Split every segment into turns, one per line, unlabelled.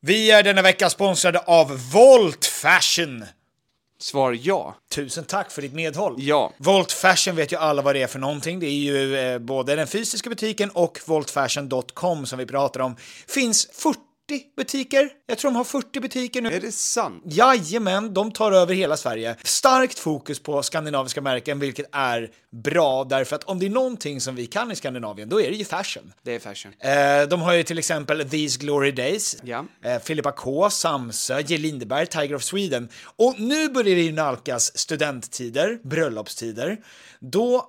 Vi är denna vecka sponsrade av Volt Fashion.
Svar ja.
Tusen tack för ditt medhåll.
Ja.
Volt Fashion vet ju alla vad det är för någonting. Det är ju eh, både den fysiska butiken och voltfashion.com som vi pratar om. Finns 40 butiker. Jag tror de har 40 butiker nu.
Är det sant?
Jajamän, de tar över hela Sverige. Starkt fokus på skandinaviska märken, vilket är bra därför att om det är någonting som vi kan i Skandinavien, då är det ju fashion.
Det är fashion.
Eh, de har ju till exempel These Glory Days,
Ja.
eh, Filippa K, Samsö, J. Lindeberg, Tiger of Sweden. Och nu börjar det ju nalkas studenttider, bröllopstider. Då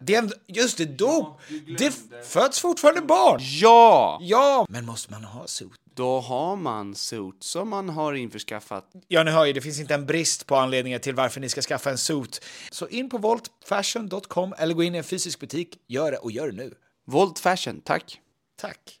Det är en, just det, dop! det f- föds fortfarande barn!
Ja!
Ja! Men måste man ha suits?
Då har man suits som man har införskaffat.
Ja, ni hör ju, det finns inte en brist på anledningar till varför ni ska skaffa en suit. Så in på voltfashion.com eller gå in i en fysisk butik. Gör det och gör det nu.
Volt fashion, tack.
Tack!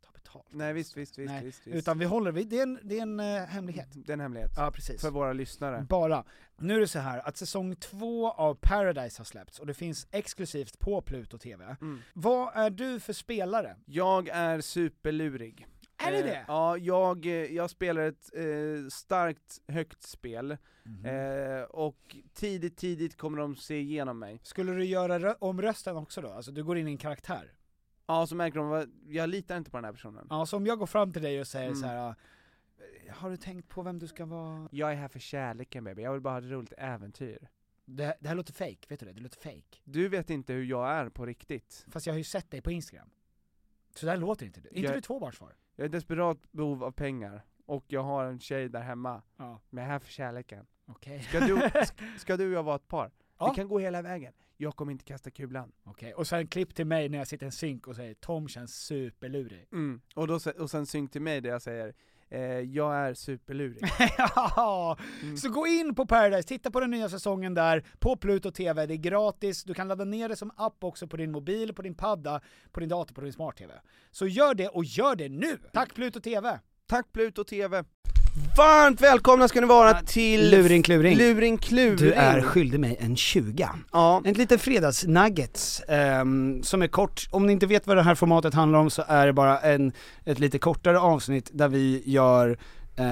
ta betalt.
Nej visst, visst, visst.
Nej,
visst, visst.
utan vi håller vid, det är en, det är en eh, hemlighet.
Det är en hemlighet.
Ja, precis.
För våra lyssnare.
Bara. Nu är det så här att säsong två av Paradise har släppts och det finns exklusivt på Pluto TV. Vad är du för spelare?
Mm. Jag är superlurig.
Är det
Eh,
det?
Ja, jag, eh, jag spelar ett eh, starkt, högt spel,
Mhm.
eh, och tidigt, tidigt kommer de se igenom mig.
Skulle du göra rö- om rösten också då? Alltså du går in i en karaktär?
Ja, så märker de, vad- jag litar inte på den här personen.
Ja, så om jag går fram till dig och
Mm.
säger så här. "Ah, har du tänkt på vem du ska vara?
Jag är här för kärleken baby, jag vill bara ha ett roligt äventyr.
Det, det här låter fake, vet du det? Det låter fake.
Du vet inte hur jag är på riktigt.
Fast jag har ju sett dig på Instagram. Så där låter inte du. Är inte
Jag-
du tvåbarnsfar?
Jag är i desperat behov av pengar, och jag har en tjej där hemma,
Ja,
men jag är här för kärleken.
okej.
Ska du, sk- ska du och jag vara ett par?
Ja.
Vi kan gå hela vägen. Jag kommer inte kasta kulan.
Okej, och sen klipp till mig när jag sitter i en synk och säger Tom känns superlurig.
Mm. Och, då, se- och sen synk till mig där jag säger, eh, jag är superlurig. Mm.
ja! Så gå in på Paradise, titta på den nya säsongen där, på Pluto TV, det är gratis, du kan ladda ner det som app också på din mobil, på din padda, på din dator, på din smart-TV. Så gör det, och gör det nu! Tack Pluto TV!
Tack Pluto TV! Varmt välkomna ska ni vara till
Luring kluring.
Luring kluring.
Du är skyldig mig en 20.
Ja.
En liten fredagsnuggets, ehm, som är kort. Om ni inte vet vad det här formatet handlar om så är det bara en, ett lite kortare avsnitt där vi gör eh,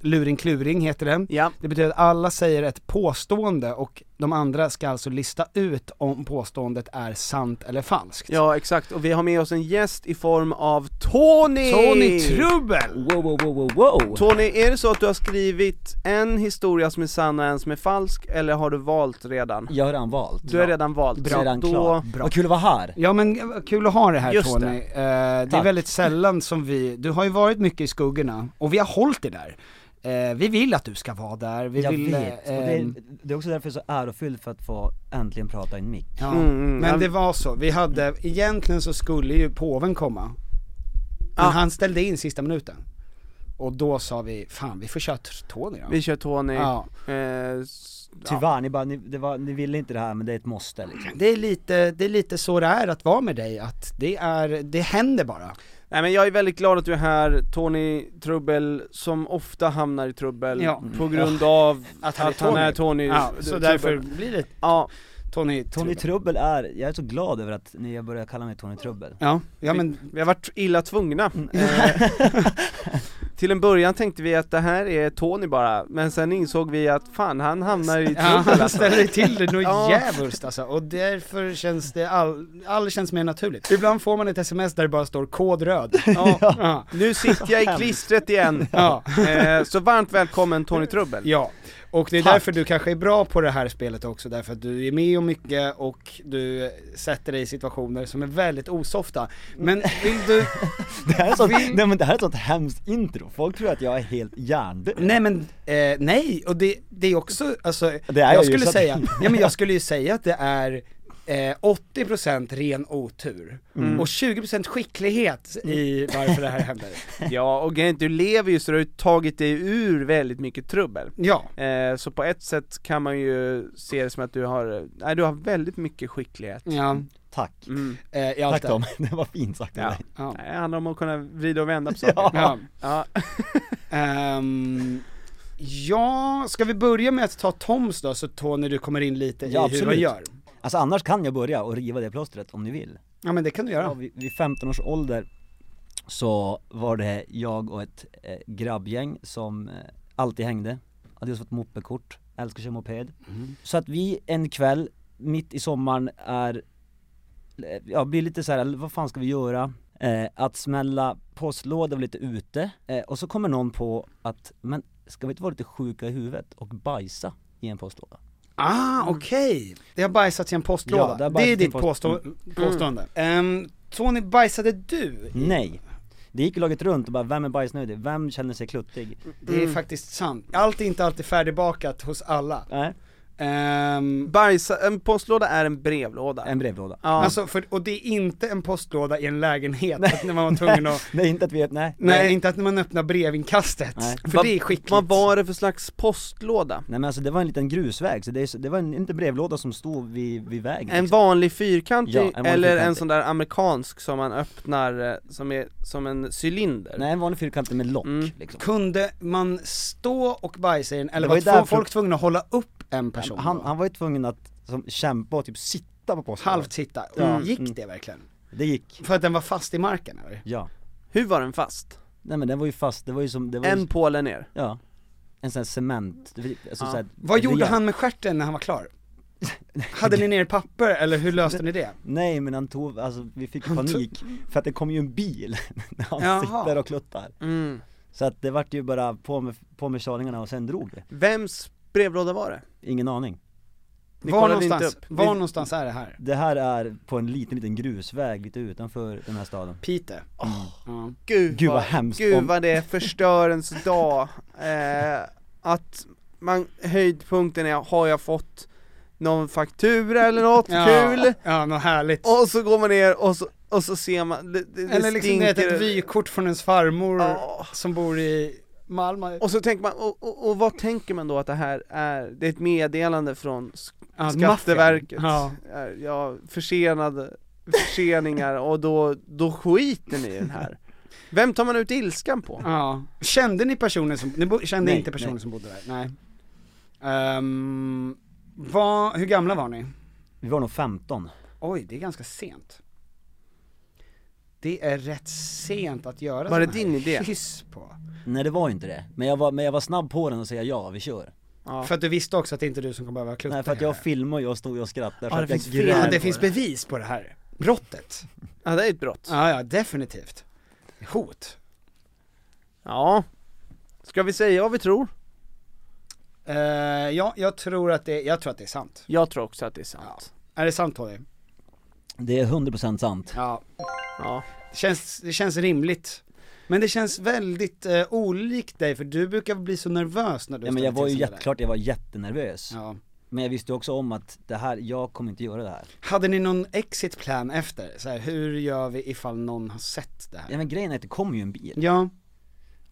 Luring kluring heter den.
Ja.
Det betyder att alla säger ett påstående och De andra ska alltså lista ut om påståendet är sant eller falskt.
Ja, exakt. Och vi har med oss en gäst i form av Tony!
Tony Trubbel!
Wow, wow, wow, wow, wow.
Tony, är det så att du har skrivit en historia som är sann och en som är falsk, eller har du valt redan?
Jag har redan valt.
Du har redan valt.
Bra. Redan
Då-
klar. Vad kul att vara här.
Ja men eh, kul att ha det här
Just
Tony.
det.
Det, eh, det är
Tack.
väldigt sällan som vi, du har ju varit mycket i skuggorna och vi har hållit dig där. Eh, vi vill att du ska vara där, vi
jag
vill...
vet.
eh,
och det,
ehm,
är, det är också därför jag är så ärofylld för att få äntligen prata i en mick.
Ja,
Mm, mm,
men
jag-
det var så, vi hade, egentligen så skulle ju påven komma Men
Ah.
han ställde in sista minuten Och då sa vi, fan vi får köra t- Tony då
Vi kör Tony.
Ja.
Eh, s-
Tyvärr, ni bara, ni, det var, ni ville inte det här men det är ett måste liksom.
det är, lite, det är lite så det är att vara med dig, att det är, det händer bara
Nej men jag är väldigt glad att du är här, Tony Trubbel, som ofta hamnar i trubbel
Ja.
på grund av
Att
han är Tony.
Ja,
Du-
så
Trubbel.
därför blir det
Ja,
Tony
Tony Trubbel är, jag är så glad över att ni har börjat kalla mig Tony Trubbel.
Ja, ja men Mm.
vi har varit illa tvungna. Eh, till en början tänkte vi att det här är Tony bara, men sen insåg vi att fan han hamnar i
Ja,
trubbel
han
alltså.
ställer till det något
Ja.
djävulskt alltså, och därför känns det, all, all känns mer naturligt Ibland får man ett sms där det bara står kod röd
Ja.
Ja,
Nu sitter jag i klistret igen.
ja,
Eh, så varmt välkommen Tony Trubbel.
ja. Och det är
Tack.
därför du kanske är bra på det här spelet också, därför att du är med om mycket och du sätter dig i situationer som är väldigt osofta Men vill du,
Det här är sånt, nej men det här är ett sånt hemskt intro, folk tror att jag är helt hjärndöd.
nej men, eh, nej, och det, det är också, alltså,
Det är
jag,
jag ju,
skulle
så att-
säga, ja men jag skulle ju säga att det är Eh, 80% ren otur
Mm.
och 20% skicklighet i varför det här händer.
Ja, och grejen är att du lever ju så du har ju tagit dig ur väldigt mycket trubbel.
Ja,
Eh, så på ett sätt kan man ju se det som att du har, nej du har väldigt mycket skicklighet.
ja,
Tack.
Mm.
eh, i allt
Tack
det.
Tom, det var fint sagt av
Ja.
dig.
Ja.
Nej, Det handlar om att kunna vrida och vända på saker.
Ja.
Ja.
Ehm, ja, ska vi börja med att ta Toms då, så Tony du kommer in lite i
Ja,
hur man
absolut.
gör?
Alltså annars kan jag börja och riva det plåstret om ni vill.
Ja men det kan du
Ja,
göra.
vid, vid 15 års ålder så var det jag och ett eh, grabbgäng som eh, alltid hängde. Hade just fått moppekort, älskar att köra moped. Så att vi en kväll, mitt i sommaren, är, eh, ja blir lite så här, vad fan ska vi göra? Eh, att smälla postlåda och lite ute. Eh, och så kommer någon på att, men ska vi inte vara lite sjuka i huvudet och bajsa i en postlåda?
Ah, okej! Det har bajsats i en
Mm. Ja, det
postlåda,
har
det, är
bajsats i
ditt
en post- Mm.
påstå- påstående. Ehm, Tony, bajsade du?
Nej! Det gick ju laget runt och bara, vem är bajsnödig? Vem känner sig kluttig?
Det
Mm.
är faktiskt sant. Allt är inte alltid färdigbakat hos alla.
Nej,
Ehm,
Bajsa, en postlåda är en brevlåda.
en brevlåda.
ja.
Alltså, för, och det är inte en postlåda i en lägenhet, att när man var tvungen att
Nej inte att vi, nej.
Nej, inte att man öppnar brevinkastet,
Nej.
för
Vad-
det är skickligt.
Vad var det för slags postlåda?
Nej men alltså det var en liten grusväg, så det, är så- det var en, inte brevlåda som stod vid, vid vägen
En
liksom.
vanlig fyrkantig,
Ja, en vanlig
eller en
fyrkantig.
sån där amerikansk som man öppnar, eh, som är som en cylinder?
Nej en vanlig fyrkantig med lock
Mm.
liksom.
Kunde man stå och bajsa i den, eller
Det var
var,
ju därför-
två folk tvungna att hålla upp en person?
Han,
då?
han var ju tvungen att som, kämpa och typ sitta på posten
Halvt sitta,
Ja,
gick
mm.
det verkligen?
Det gick,
För att den var fast i marken eller?
ja
Hur var den fast?
Nej men den var ju fast, det var ju som, det var ju,
En på eller ner?
ja En sån här cement, alltså
Ja.
så här,
Vad gjorde
rejäl-
han med stjärten när han var klar? Hade ni ner papper, eller hur löste ni det?
Nej men han tog, alltså vi fick panik, för att det kom ju en bil när han
Jaha.
sitter och kluttar
Mm.
Så att det vart ju bara på med, på med körningarna och sen drog det,
Vems brevlåda var det?
ingen aning
Ni
Var
kollade inte
någonstans,
upp.
var
Vi-
någonstans är det här?
Det här är på en liten, liten grusväg lite utanför den här staden
Piteå? Ja.
Gud,
Gud, vad hemskt
Gud
om-
vad det är förstörens dag, eh, att man, höjdpunkten är, har jag fått någon faktura eller något kul?
Ja, något härligt.
Och så går man ner och så, och så ser man, det, det,
eller
det
liksom ni
stinker
vet, ett vykort från ens farmor
Ja.
som bor i Malmö.
Och så tänker man, och, och, och vad tänker man då att det här är? Det är ett meddelande från S-
Ja,
Skatteverket,
maffian. Ja.
ja. Ja, försenade, förseningar och då, då skiter ni i den här Vem tar man ut ilskan på?
Ja. Kände ni personen som, ni bo, kände
Nej,
inte personen
nej.
som bodde där? Nej. Ehm, vad, hur gamla var ni?
Vi var nog 15
Oj, det är ganska sent. Det är rätt sent att göra
Var det
sån
din
här
idé?
Kyss på.
Nej det var ju inte det, men jag var, men jag var snabb på den och säga ja, vi kör
Ja.
För att du visste också att det inte är du som kommer behöva klutta
Nej för att jag filmar ju och står ju och skrattar så
Ja, det
att jag
finns,
grät.
ja, det finns bevis på det här brottet.
Ja det är ett brott.
Ja, ja, definitivt. Hot.
Ja. Ska vi säga vad vi tror?
Eh, ja, jag tror att det, jag tror att det är sant.
Jag tror också att det är sant.
Är det sant Tony?
Det är 100% sant.
Ja.
Ja.
Det känns, det känns rimligt. Men det känns väldigt eh, olikt dig för du brukar bli så nervös när du
Ja men jag
ställer
var ju
till sådana där.
jätteklart, jag var jättenervös.
Ja.
Men jag visste ju också om att det här, jag kommer inte göra det här.
Hade ni någon exit plan efter? Så här, hur gör vi ifall någon har sett det här?
Ja men grejen är att det kommer ju en bil.
Ja,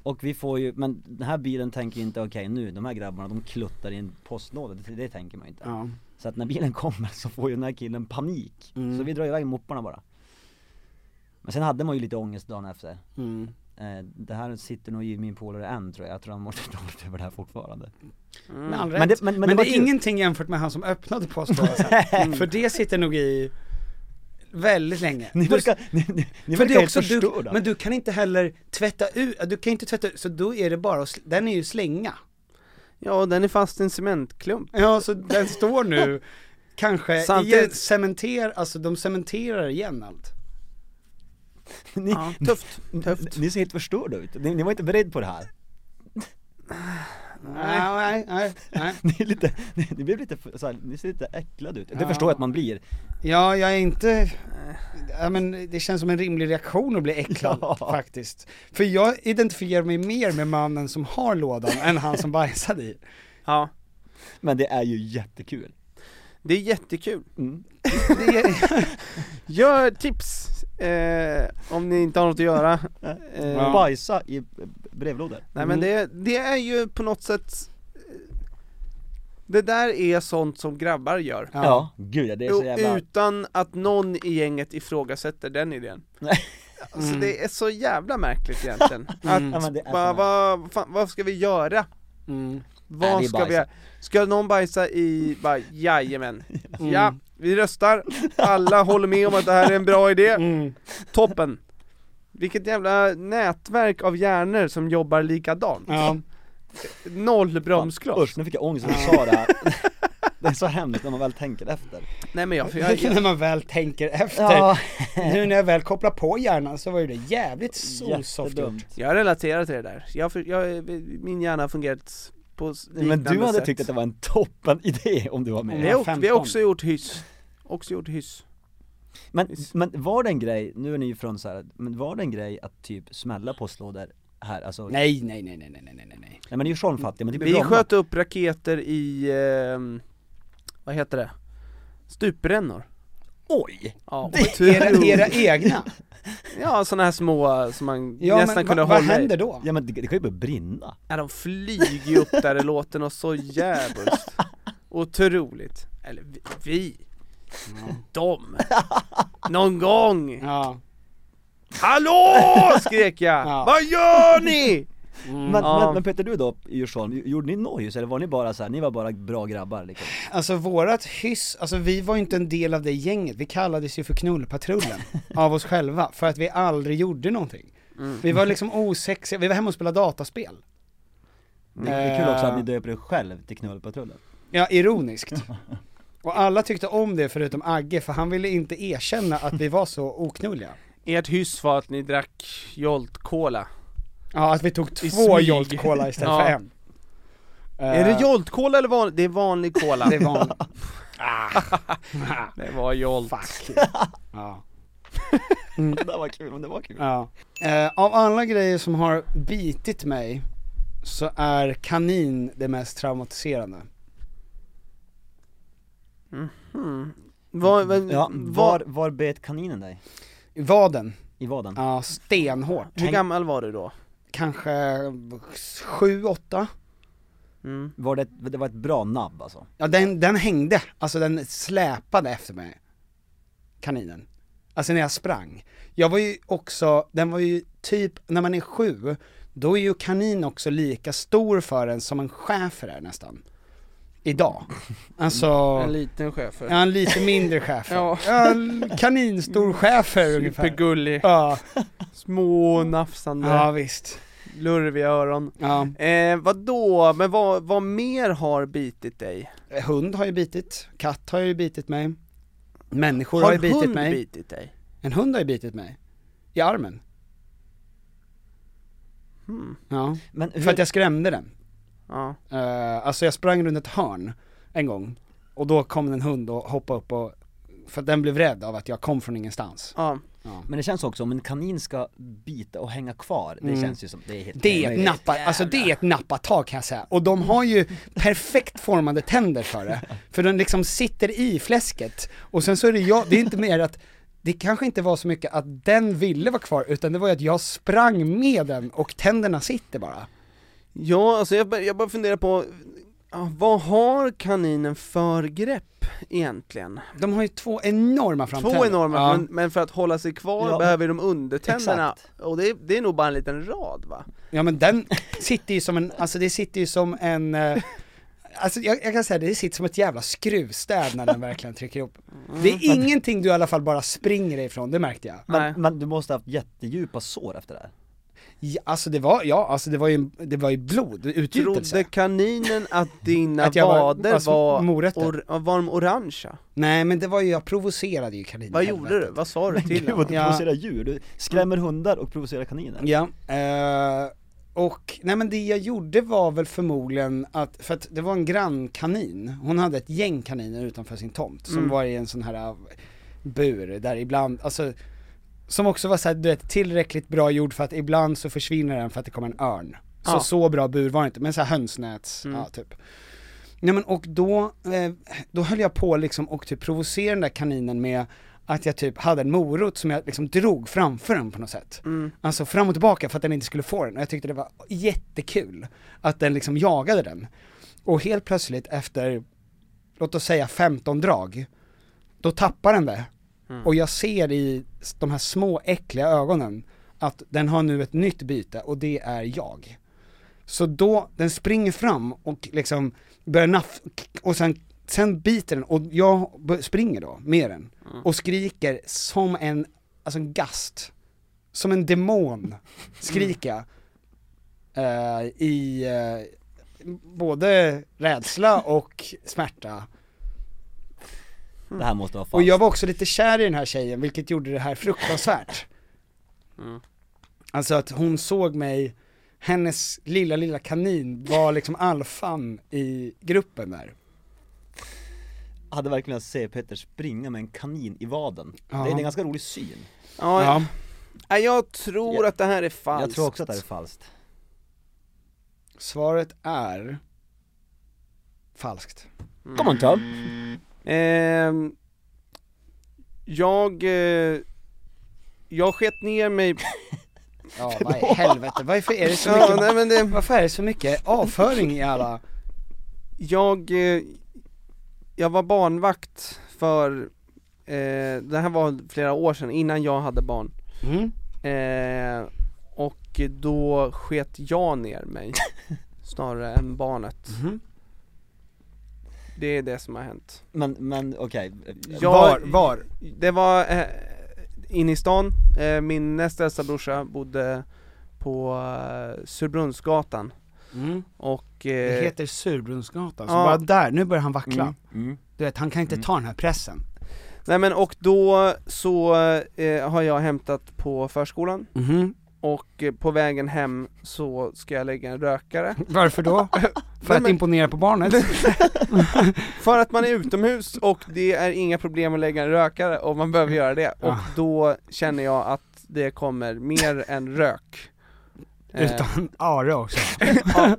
Och vi får ju, men den här bilen tänker ju inte okej nu, de här grabbarna de kluttar i en postlåda, det, det tänker man ju inte.
ja. Mm.
Så att när bilen kommer så får ju den här killen panik. Så vi drar iväg mopparna bara. Men sen hade man ju lite ångest dagen efter.
Mm.
Eh, det här sitter nog i min polare än tror jag, jag tror han mår dåligt över det här fortfarande.
Med all rätt.
Men det- men- men det var
Mm. är
kul.
ingenting jämfört med han som öppnade postlådan sen. För det sitter nog i väldigt länge.
Ni
Du-
verkar, ni, ni, ni
för
verkar
det är
helt
också du,
förstörda.
men du kan inte heller tvätta ut, du kan inte tvätta ut, så då är det bara att, sl- den är ju slänga.
Ja, den är fast i en cementklump.
Ja, så den står nu kanske
Samtidigt-
igen, cementer, alltså de cementerar igen allt.
ni,
Ja, tufft, tufft.
ni ser helt förstörda ut, ni, ni var inte beredd på det här.
Nej, nej, nej, nej.
Ni, är lite, ni, ni blev lite, för- så här, ni ser lite äcklade ut. Det förstår jag att man blir.
Ja, jag är inte, ja men det känns som en rimlig reaktion att bli äcklad
Ja.
faktiskt. För jag identifierar mig mer med mannen som har lådan än han som bajsade i.
Ja.
Men det är ju jättekul. Mm.
Det är jättekul.
Det är,
Gör tips! Eh, om ni inte har något att göra. Eh,
Bajsa i brevlådor.
Nej men det, det är ju på något sätt Det där är sånt som grabbar gör
Ja, gud ja, det är så
Och
jävla...
Utan att någon i gänget ifrågasätter den idén
Nej.
Alltså
Mm.
det är så jävla märkligt egentligen Att
Ja, men det är
bara,
så märkligt.
vad, fan, vad ska vi göra?
mm.
Vad
det är
ska
bajsa.
vi göra? Ska någon bajsa i, bara, jajamän Ja, vi röstar, alla håller med om att det här är en bra idé Toppen! Vilket jävla nätverk av hjärnor som jobbar likadant
Ja.
Noll bromskloss.
Mm. Usch, nu fick jag ångest när du sa det här. Det är så hemskt när man väl tänker efter.
Nej men jag, jag,
När man väl tänker efter.
Ja.
Nu när jag väl kopplar på hjärnan så var ju det jävligt osoft gjort.
Jättedumt.
jag relaterar till det där. Jag, för- jag, min hjärna har fungerat på s- liknande
Men du hade
sätt.
tyckt att det var en toppen idé om du var med.
Mm.
vi, har, ock- vi har
15.
också gjort hyss. Också gjort hyss.
Men, men var det en grej, nu är ni ju från så här, men var det en grej att typ smälla postlådor här? Alltså, nej.
Nej, nej, nej, nej, nej, nej, nej, nej.
men det är ju Tjornfattiga, men det blir
Vi
Bromma.
sköt upp raketer i, ehm, vad heter det? Stuprännor.
Oj!
Ja,
Era, era egna?
ja sådana här små som man
Ja,
nästan
men
kunde
va, vad
hålla i.
händer då?
Ja men det, det kan ju börja brinna.
Ja, de flyger ju upp där i låten och så jävligt Otroligt. Eller vi, vi. de. Någon gång.
Ja.
Hallå! skrek jag.
Ja.
Vad gör ni?
Men,
Ja.
men, men Peter du då i Djursholm, gjorde ni nojus eller var ni bara så här, ni var bara bra grabbar liksom?
Alltså vårat hyss, alltså vi var ju inte en del av det gänget, vi kallades ju för knullpatrullen av oss själva för att vi aldrig gjorde någonting. Vi var liksom osexiga, vi var hemma och spelade dataspel.
Det är kul också att ni döper er själv till Knullpatrullen.
Ja, ironiskt. Och alla tyckte om det förutom Agge, för han ville inte erkänna att vi var så oknulliga.
Ert hyss var att ni drack Jolt Cola.
Ja, att vi tog
I
två
smyg.
Jolt Cola istället
Ja.
för en.
Är
Eh,
det Jolt Cola eller vanlig? Det är vanlig Cola.
Det var en...
det var Jolt.
Fuck. Ja.
Det där var kul, men det var kul.
ja. Eh, av alla grejer som har bitit mig så är kanin det mest traumatiserande.
Var, var,
Ja,
var,
var, var bet kaninen dig?
Vaden,
I vaden?
ja stenhårt.
hur gammal var du då?
Kanske sju, åtta.
Mm.
Var det, det var ett bra nabb alltså?
Ja den, den hängde, alltså den släpade efter mig Kaninen Alltså när jag sprang Jag var ju också, den var ju typ, när man är sju Då är ju kanin också lika stor för en som en schäfer är nästan Idag Alltså,
En
ja
liten schäfer.
en lite mindre schäfer
Ja.
ja. En kaninstor schäfer ungefär
Supergullig.
Ja,
Små nafsande.
ja visst
lurviga öron.
Ja.
Eh, vadå, men vad, vad mer har bitit dig?
Hund har ju bitit, katt har ju bitit mig, människor har,
Har
ju
en
bitit
hund
mig.
bitit dig?
En hund har ju bitit mig. I armen.
Hmm.
Ja.
Men hur-
För att jag skrämde den.
Ja.
Eh, alltså jag sprang runt ett hörn en gång, och då kom en hund och hoppade upp och, för att den blev rädd av att jag kom från ingenstans.
Ja.
Men det känns också, om en kanin ska bita och hänga kvar, det
Mm.
känns ju som, det är helt
Det är ett
omöjligt.
nappa, alltså det är ett nappatag kan jag säga. Och de har ju perfekt formade tänder för det. För den liksom sitter i fläsket. Och sen så är det jag, det är inte mer att det kanske inte var så mycket att den ville vara kvar, utan det var ju att jag sprang med den och tänderna sitter bara.
Ja, alltså jag, bara- jag bara funderar på, ja, vad har kaninen för grepp egentligen?
De har ju två enorma framtänder.
Två enorma,
Ja.
men, men för att hålla sig kvar
Ja.
behöver de undertänderna, och det är, det är nog bara en liten rad va?
Ja men den sitter ju som en, alltså det sitter ju som en, eh, alltså jag, jag kan säga det, det sitter som ett jävla skruvstäd när den verkligen trycker ihop. Det är ingenting du i alla fall bara springer ifrån, det märkte jag.
Nej.
Mm. Men, men du måste ha haft jättedjupa sår efter det här.
Ja, alltså det var, ja alltså det var ju, det var ju blod,
Trodde
utgjutelse.
kaninen att dina
Att jag var-
vader
alltså,
var,
morötter.
or, var de orangea?
Nej men det var ju, jag provocerade ju kaninen
Vad
i
gjorde
helvete.
du? Vad sa du
Men
till
gud
honom?
vad du
Ja.
provocerar djur, du skrämmer hundar och provocerar kaniner.
Ja, eh, och nej men det jag gjorde var väl förmodligen att, för att det var en grannkanin, hon hade ett gäng kaniner utanför sin tomt som
Mm.
var i en sån här eh, bur där ibland, alltså som också var såhär, du vet, tillräckligt bra gjord för att ibland så försvinner den för att det kommer en örn. Så,
Ja. Mm.
så bra bur var det inte, men såhär hönsnäts, ja typ. Nej men och då, eh, då höll jag på liksom och typ provocera den där kaninen med att jag typ hade en morot som jag liksom drog framför den på något sätt. Alltså fram och tillbaka för att den inte skulle få den och jag tyckte det var jättekul att den liksom jagade den. Och helt plötsligt efter, låt oss säga 15 drag, då tappar den det. Och jag ser i s- de här små äckliga ögonen att den har nu ett nytt byte och det är jag. Så då, den springer fram och liksom börjar naff, och sen, sen biter den och jag b- springer då med den. Och skriker som en, alltså en gast. Som en demon skriker jag. Eh, I eh, både rädsla och smärta.
Det här måste vara falskt.
Och jag var också lite kär i den här tjejen, vilket gjorde det här fruktansvärt. Alltså att hon såg mig, hennes lilla, lilla kanin var liksom alfan i gruppen där.
hade verkligen velat se Peter springa med en kanin i vaden.
Ja.
Det är en ganska rolig syn.
Ja,
Ja.
nej, jag tror
Jag-
att det här är falskt.
Jag tror också att det här är falskt.
Svaret är falskt.
Come on Tom!
Ehm, jag, eh, jag sket ner mig,
Ja, vad i helvete, varför är det så
ja, nej,
mycket,
men det,
varför är det så mycket avföring i alla?
jag, eh, jag var barnvakt för, eh, det här var flera år sedan, innan jag hade barn.
Mm.
Eh, och då sket jag ner mig, snarare än barnet.
Mhm.
Det är det som har hänt.
Men, men okej.
Jag-
Var, var?
Det var eh, inne i stan, eh, min näst äldsta brorsa bodde på eh, Surbrunnsgatan
Mm.
och...
Det
Eh,
heter Surbrunnsgatan, så
ja.
bara där, nu börjar han vackla.
Mm, mm.
Du vet, han kan inte ta den här pressen.
nej men och då så eh, har jag hämtat på förskolan
Mhm.
och eh, på vägen hem så ska jag lägga en rökare.
Varför då? För att
men-
imponera på barnet?
För att man är utomhus och det är inga problem att lägga en rökare och man behöver göra det. Och
Ja.
då känner jag att det kommer mer än rök. Eh,
Utan are också.
Ja.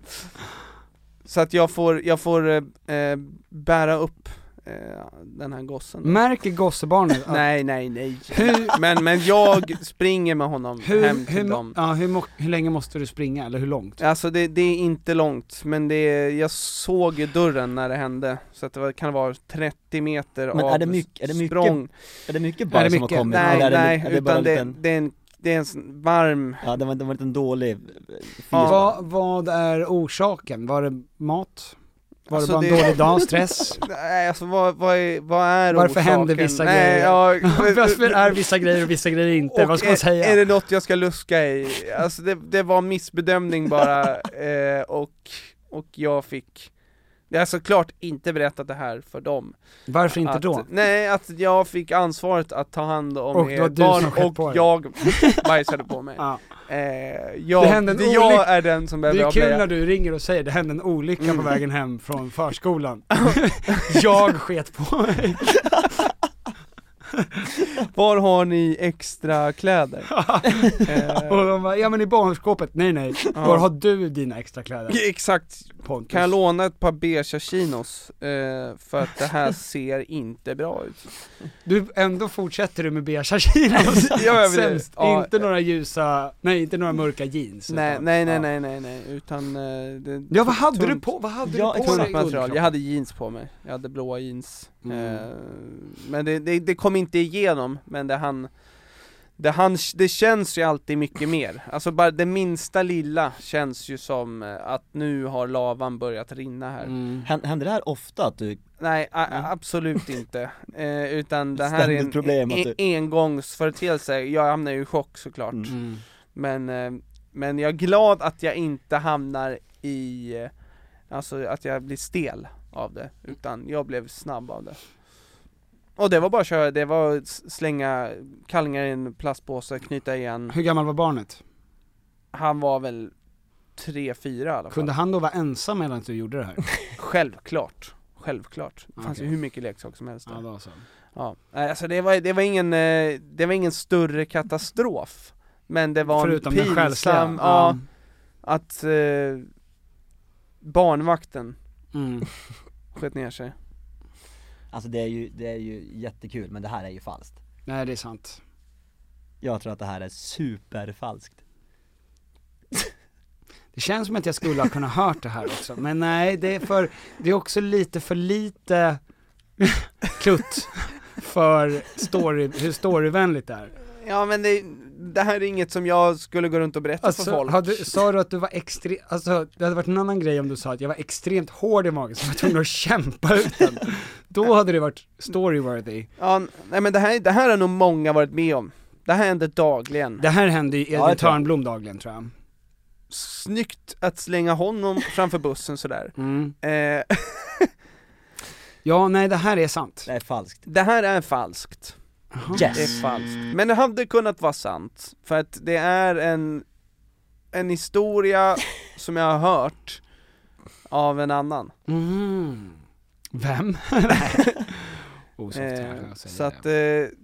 Så att jag får, jag får eh, eh, bära upp eh, den här gossen då.
Märker gossebarnet att
Nej nej nej,
Hur-
men, men jag springer med honom hem
hur,
till
hur, mo-
dem
ja, hur, mo- hur länge måste du springa, eller hur långt?
Alltså det, det är inte långt, men det är, jag såg ju dörren när det hände, så att det var, kan vara 30 meter
Men
av
är det mycket- är det mycket
språng
Är det mycket
Är
barn
det
som har
mycket?
kommit?
Nej
Eller är det,
nej,
är det bara
utan
en
det,
liten,
det, är en, det är en sån varm
ja det var, det var en liten dålig eh, fis.
Ja.
Vad, vad är orsaken? Var Alltså, det mat?
Var det bara en dålig dag, stress?
Nej alltså vad, vad är, vad är
Varför
orsaken?
händer vissa
Nej,
grejer?
ja,
Varför är vissa grejer och vissa grejer inte?
Och
Vad ska man
är,
säga?
är det något jag ska luska i? Alltså det, det var missbedömning bara, eh, och, och jag fick jag har såklart inte berättat det här för dem.
Varför inte
att,
då?
Nej, att jag fick ansvaret att ta hand om
Och det var
er
du som
barn
sköt på
och
dig.
jag bajsade på mig. eh, jag,
Det hände en
det jag
olyck-
är den
Det
som behöver Mm.
är kul
avslöja.
när du ringer och säger det hände en olycka på vägen hem från förskolan. jag sket på mig.
Var har ni extra kläder? Eh.
Och de bara, ja men i barnskåpet, nej nej.
Ja.
Var har du dina extra kläder?
Exakt.
Pontus.
Kan jag låna ett par beiga chinos? Eh, för att det här ser inte bra ut.
Du, ändå fortsätter du med beiga chinos.
jag vill det.
Sämst.
Ja.
Inte några ljusa, nej inte några mörka jeans.
Nej,
utan-
nej, nej,
ja.
nej, nej, nej, utan... eh, det-
Ja, vad hade
tunt-
du på- vad hade du
ja,
på dig
ett tunt
i
material.
underkroppen?
Jag hade jeans på mig, jag hade blåa jeans.
Mm.
Eh, men det, det, det kom inte igenom, men det han... Det, han, det känns ju alltid mycket mer, alltså bara det minsta lilla känns ju som eh, att nu har lavan börjat rinna här
Mm.
Hän- Händer det här ofta att du
Nej, a- absolut inte. Eh, utan det här är
Mm. Ständigt
en
problem att
en- engångsföreteelse, jag hamnar ju i chock såklart.
Mm.
Mm.
Men, eh, men jag är glad att jag inte hamnar i, eh, alltså att jag blir stel av det, utan jag blev snabb av det. Och det var bara att köra, det var att s- slänga kallingar i en plastpåse, knyta igen.
Hur gammal var barnet?
Han var väl tre fyra i alla fall.
Kunde han då vara ensam medan du gjorde det här?
Självklart, självklart. Det fanns
Okej.
ju hur mycket leksaker som helst där.
Ja, då så.
Ja, nej, alltså det var, det var ingen, eh, det var ingen större katastrof Men det var
Förutom
en
den själsliga,
pinsam,
ja.
ja, att eh, barnvakten
Mm.
sköt ner sig
Alltså det är ju, det är ju jättekul men det här är ju falskt
Nej det är sant
Jag tror att det här är superfalskt
Det känns som att jag skulle ha kunnat hört det här också, men nej det är för, det är också lite för lite klutt för story, hur storyvänligt det är.
Ja men det, det här är inget som jag skulle gå runt och berätta för
Alltså,
folk
hade, sa du att du var extremt, alltså det hade varit en annan grej om du sa att jag var extremt hård i magen så jag var tvungen att kämpa ut den. Då hade det varit storyworthy.
Ja, n- nej men det här, det här har nog många varit med om Det här händer dagligen
Det här hände ju
Ja,
Edvin
jag tror-
Törnblom dagligen tror jag.
Snyggt att slänga honom framför bussen sådär
Mm.
eh,
Ja, nej det här är sant.
Det är falskt
Det här är falskt
Yes.
Det är falskt. Men det hade kunnat vara sant, för att det är en, en historia som jag har hört av en annan.
Mm. Vem? Nej. Osoft,
Eh,
jag säger
så att, eh,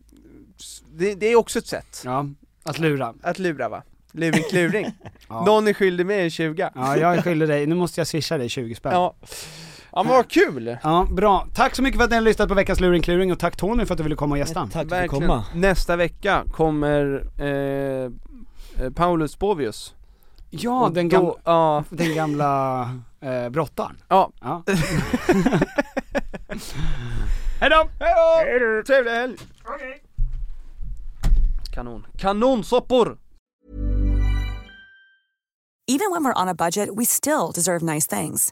s- det, det är också ett sätt
Ja, att lura.
att lura va? Luring kluring.
Ja.
Någon är skyldig mig en 20
Ja, jag är skyldig dig. Nu måste jag swisha dig 20 spänn.
Ja. ja men vad kul!
Ja, bra. Tack så mycket för att ni har lyssnat på veckans Luring Kluring och tack Tony för att du ville komma och gästa.
Tack för att
Verkligen.
komma
Nästa vecka kommer eh, eh, Paulus Bovius.
Ja,
Och
den,
då-
gamla
ja,
den gamla eh, brottaren.
ja.
Ja.
Hejdå! Hejdå! Trevlig helg! Kanon. Kanonsoppor!
Even when we're on a budget, we still deserve nice things.